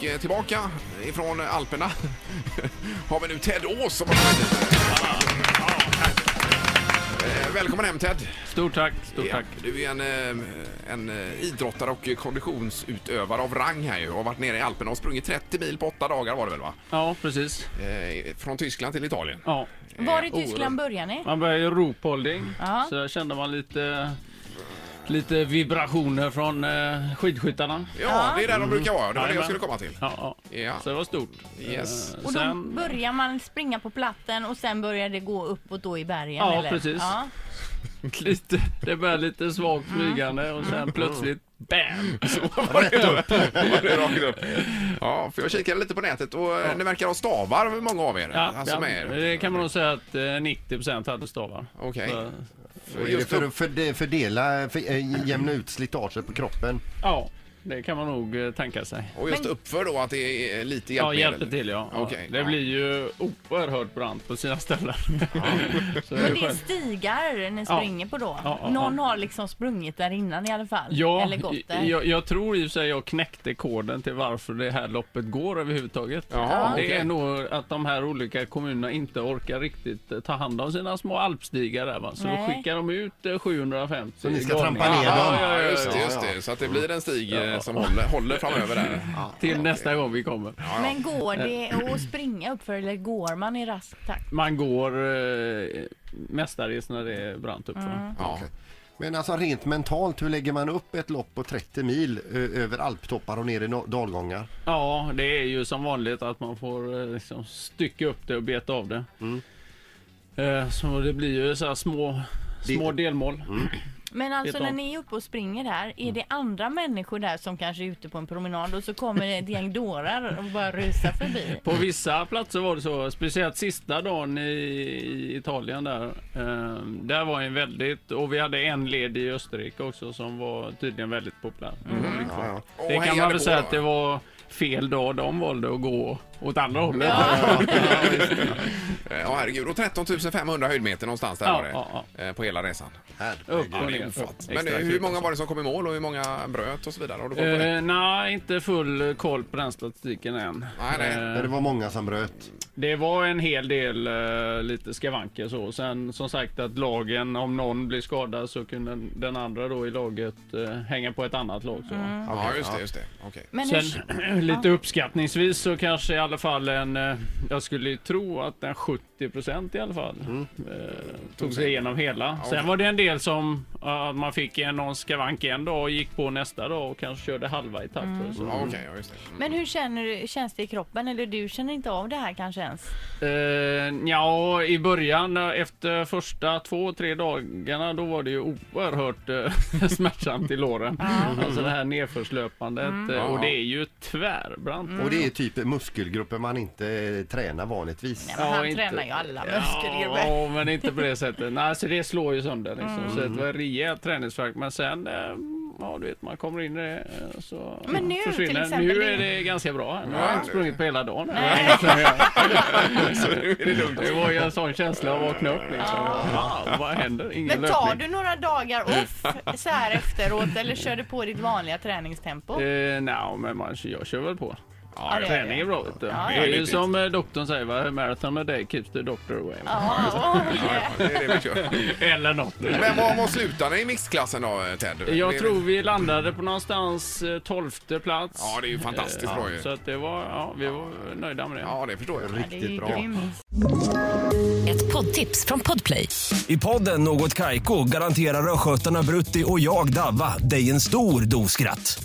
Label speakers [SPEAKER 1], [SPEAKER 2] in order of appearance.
[SPEAKER 1] Och eh, tillbaka ifrån Alperna har vi nu Ted Ås som har kommit hit. Eh, Välkommen hem Ted!
[SPEAKER 2] Stort tack, stort tack.
[SPEAKER 1] Ja, Du är en, eh, en eh, idrottare och konditionsutövare av rang här ju. Har varit nere i Alperna och sprungit 30 mil på 8 dagar var det väl va?
[SPEAKER 2] Ja, precis.
[SPEAKER 1] Eh, Från Tyskland till Italien.
[SPEAKER 2] Ja.
[SPEAKER 3] Var i Tyskland börjar ni?
[SPEAKER 2] Man började i ropolding,
[SPEAKER 3] Ja.
[SPEAKER 2] så där kände man lite, lite vibrationer från eh, skidskyttarna.
[SPEAKER 1] Ja, det är där de brukar vara. Det var det jag
[SPEAKER 2] Jajamän.
[SPEAKER 1] skulle komma till.
[SPEAKER 2] Ja, ja.
[SPEAKER 1] Ja.
[SPEAKER 2] Så det var stort.
[SPEAKER 1] Yes.
[SPEAKER 2] Eh,
[SPEAKER 3] Och då
[SPEAKER 2] sen,
[SPEAKER 3] börjar man springa på platten och sen börjar det gå uppåt då i bergen?
[SPEAKER 2] Ja,
[SPEAKER 3] eller?
[SPEAKER 2] precis.
[SPEAKER 3] Ja.
[SPEAKER 2] lite, det började lite svagt flygande och sen plötsligt BAM!
[SPEAKER 1] Var det då? Var det rakt upp? Ja, för jag kikade lite på nätet och eh, ni verkar ha stavar, många av er. alltså med er.
[SPEAKER 2] det kan man nog säga att eh, 90% hade stavar.
[SPEAKER 1] Okej.
[SPEAKER 2] Så,
[SPEAKER 1] För
[SPEAKER 4] Är det
[SPEAKER 1] Just
[SPEAKER 4] för
[SPEAKER 1] upp,
[SPEAKER 4] att förde- fördela, för, eh, jämna ut slitaget på kroppen?
[SPEAKER 2] ja, det kan man nog eh, tänka sig.
[SPEAKER 1] och just uppför då att det är lite
[SPEAKER 2] Ja,
[SPEAKER 1] hjälpmedel?
[SPEAKER 2] hjälper till ja. ja.
[SPEAKER 1] Okej,
[SPEAKER 2] det
[SPEAKER 1] ja.
[SPEAKER 2] blir ju oerhört brant på sina ställen. Så det är
[SPEAKER 3] Men det är
[SPEAKER 2] skönt.
[SPEAKER 3] stigar ni
[SPEAKER 2] Ja.
[SPEAKER 3] springer på då?
[SPEAKER 2] Ja, ja,
[SPEAKER 3] Någon
[SPEAKER 2] ja.
[SPEAKER 3] har liksom sprungit där innan i alla fall?
[SPEAKER 2] Ja,
[SPEAKER 3] Eller gått där?
[SPEAKER 2] jag, jag tror i och för sig jag knäckte koden till varför det här loppet går överhuvudtaget.
[SPEAKER 1] Jaha,
[SPEAKER 2] det
[SPEAKER 1] okej.
[SPEAKER 2] är nog att de här olika kommunerna inte orkar riktigt eh, ta hand om sina små alpstigar där va. Så då
[SPEAKER 3] Nej.
[SPEAKER 2] skicka de ut eh, 750
[SPEAKER 4] Så ni ska
[SPEAKER 2] gånger.
[SPEAKER 4] trampa ner
[SPEAKER 2] Ja,
[SPEAKER 4] dem?
[SPEAKER 2] ja, ja, ja,
[SPEAKER 1] just det,
[SPEAKER 2] ja.
[SPEAKER 1] just det. Så att det blir en stig eh, som håller, håller framöver där.
[SPEAKER 2] Till nästa gång vi kommer.
[SPEAKER 3] Men går det att springa uppför eller går man i rask takt?
[SPEAKER 2] Man går eh, mestadels när det är brant uppför.
[SPEAKER 3] Mm.
[SPEAKER 1] Ja.
[SPEAKER 4] Men alltså rent mentalt, hur lägger man upp ett lopp på 30 mil ö- över alptoppar och ner i no- dalgångar?
[SPEAKER 2] Ja, det är ju som vanligt att man får eh, liksom stycka upp det och beta av det.
[SPEAKER 4] Mm.
[SPEAKER 2] Eh, Så det blir ju så här små, små delmål.
[SPEAKER 3] Men alltså
[SPEAKER 2] Vet
[SPEAKER 3] när
[SPEAKER 2] om. Mm.
[SPEAKER 3] ni är uppe och springer där, är det andra människor där som kanske är ute på en promenad och så kommer ett gäng dårar och bara rusar förbi?
[SPEAKER 2] På vissa platser var det så, speciellt sista dagen i, i Italien där. Eh, där var en väldigt, och vi hade en led i Österrike också som var tydligen väldigt populär. Mm.
[SPEAKER 4] Ja, ja.
[SPEAKER 1] Mm. Och
[SPEAKER 2] Det kan
[SPEAKER 1] hejade
[SPEAKER 2] man
[SPEAKER 1] på
[SPEAKER 2] väl säga
[SPEAKER 1] då.
[SPEAKER 2] att det var fel dag de valde att gå åt andra hållet.
[SPEAKER 1] Eh, Ja, herregud. Och 13 500 höjdmeter någonstans där
[SPEAKER 2] Ja,
[SPEAKER 1] var det.
[SPEAKER 2] ja,
[SPEAKER 1] eh, På hela resan.
[SPEAKER 2] Upp
[SPEAKER 1] Ja,
[SPEAKER 2] och
[SPEAKER 1] det är
[SPEAKER 2] ner.
[SPEAKER 1] ofatt.
[SPEAKER 2] Extra
[SPEAKER 1] Men eh, hur
[SPEAKER 2] kul.
[SPEAKER 1] många var det som kom i mål och hur många bröt och så vidare? Har du koll på det?
[SPEAKER 2] Eh, nej, inte full koll på den statistiken än.
[SPEAKER 1] Nej, nej.
[SPEAKER 2] Eh,
[SPEAKER 3] Mm.
[SPEAKER 4] Men det var många som bröt.
[SPEAKER 2] Det var en hel del eh, lite skavanker så. Sen som sagt att lagen, om någon blir skadad så kunde den andra då i laget eh, hänga på ett annat lag. Så.
[SPEAKER 1] Ja, just det, just det. Okej.
[SPEAKER 2] Mm.
[SPEAKER 3] Men hur,
[SPEAKER 2] Sen lite uppskattningsvis så kanske i alla fall en, eh, jag skulle ju tro att en 70% i alla fall eh, tog sig igenom hela.
[SPEAKER 1] okej.
[SPEAKER 2] Sen var det en del som eh, man fick en, någon skavank en dag och gick på nästa dag och kanske körde halva etapper. Så.
[SPEAKER 1] Ja, okej, ja, just det. Mm.
[SPEAKER 3] men hur känner du, känns det i kroppen? Eller du känner inte av det här kanske ens?
[SPEAKER 2] Uh, ja, i början eh, efter första två, tre dagarna då var det ju oerhört eh, smärtsamt i låren. Alltså det här nedförslöpandet
[SPEAKER 3] Mm.
[SPEAKER 2] eh, och det är ju tvärbrant.
[SPEAKER 4] Och det är typ muskelgrupper man inte eh, tränar vanligtvis.
[SPEAKER 3] Nej, men han
[SPEAKER 2] inte-
[SPEAKER 3] tränar ju alla
[SPEAKER 2] Ja,
[SPEAKER 3] muskelgrupper.
[SPEAKER 2] ja, men inte på det sättet. Nej, så det slår ju sönder liksom.
[SPEAKER 3] Mm.
[SPEAKER 2] Så det var en rejäl träningsvärk. Men sen, eh, ja du vet, man kommer in i det eh, så
[SPEAKER 3] Men nu, till
[SPEAKER 2] försvinner
[SPEAKER 3] exempel,
[SPEAKER 2] Nu
[SPEAKER 3] det-
[SPEAKER 2] är det ganska bra. här. Nu har
[SPEAKER 1] Ja.
[SPEAKER 2] jag inte sprungit på hela dagen.
[SPEAKER 3] Nej.
[SPEAKER 1] Så nu är det lugnt.
[SPEAKER 2] Det var ju en sån känsla att vakna upp liksom. Wow, vad händer? Ingen
[SPEAKER 3] Men tar
[SPEAKER 2] löpning.
[SPEAKER 3] du några dagar off så här efteråt eller kör du på ditt vanliga träningstempo?
[SPEAKER 2] Eh, Nej, men man, jag kör väl på.
[SPEAKER 1] Ja,
[SPEAKER 3] det
[SPEAKER 2] Träning är bra. Vet du.
[SPEAKER 3] Ja,
[SPEAKER 2] det
[SPEAKER 3] ja.
[SPEAKER 2] är ju som eh, doktorn säger, va? marathon a day keeps the doctor away.
[SPEAKER 3] Ja, och-
[SPEAKER 1] Ja, det är det vi kör.
[SPEAKER 2] Eller något.
[SPEAKER 1] Men vad, vad slutade ni i mixklassen då, Ted? Det
[SPEAKER 2] Jag
[SPEAKER 1] är-
[SPEAKER 2] tror vi landade på någonstans eh, tolfte plats.
[SPEAKER 1] Ja, det är ju fantastiskt
[SPEAKER 2] Eh,
[SPEAKER 1] bra ju.
[SPEAKER 2] Så att det var, ja, vi var nöjda med det.
[SPEAKER 1] Ja, det förstår jag.
[SPEAKER 3] det är ju
[SPEAKER 4] Riktigt bra.
[SPEAKER 3] grymt.
[SPEAKER 5] Ett poddtips från Podplay.
[SPEAKER 6] I podden Något Kaiko garanterar östgötarna Brutti och jag, Davva, dig en stor dos skratt.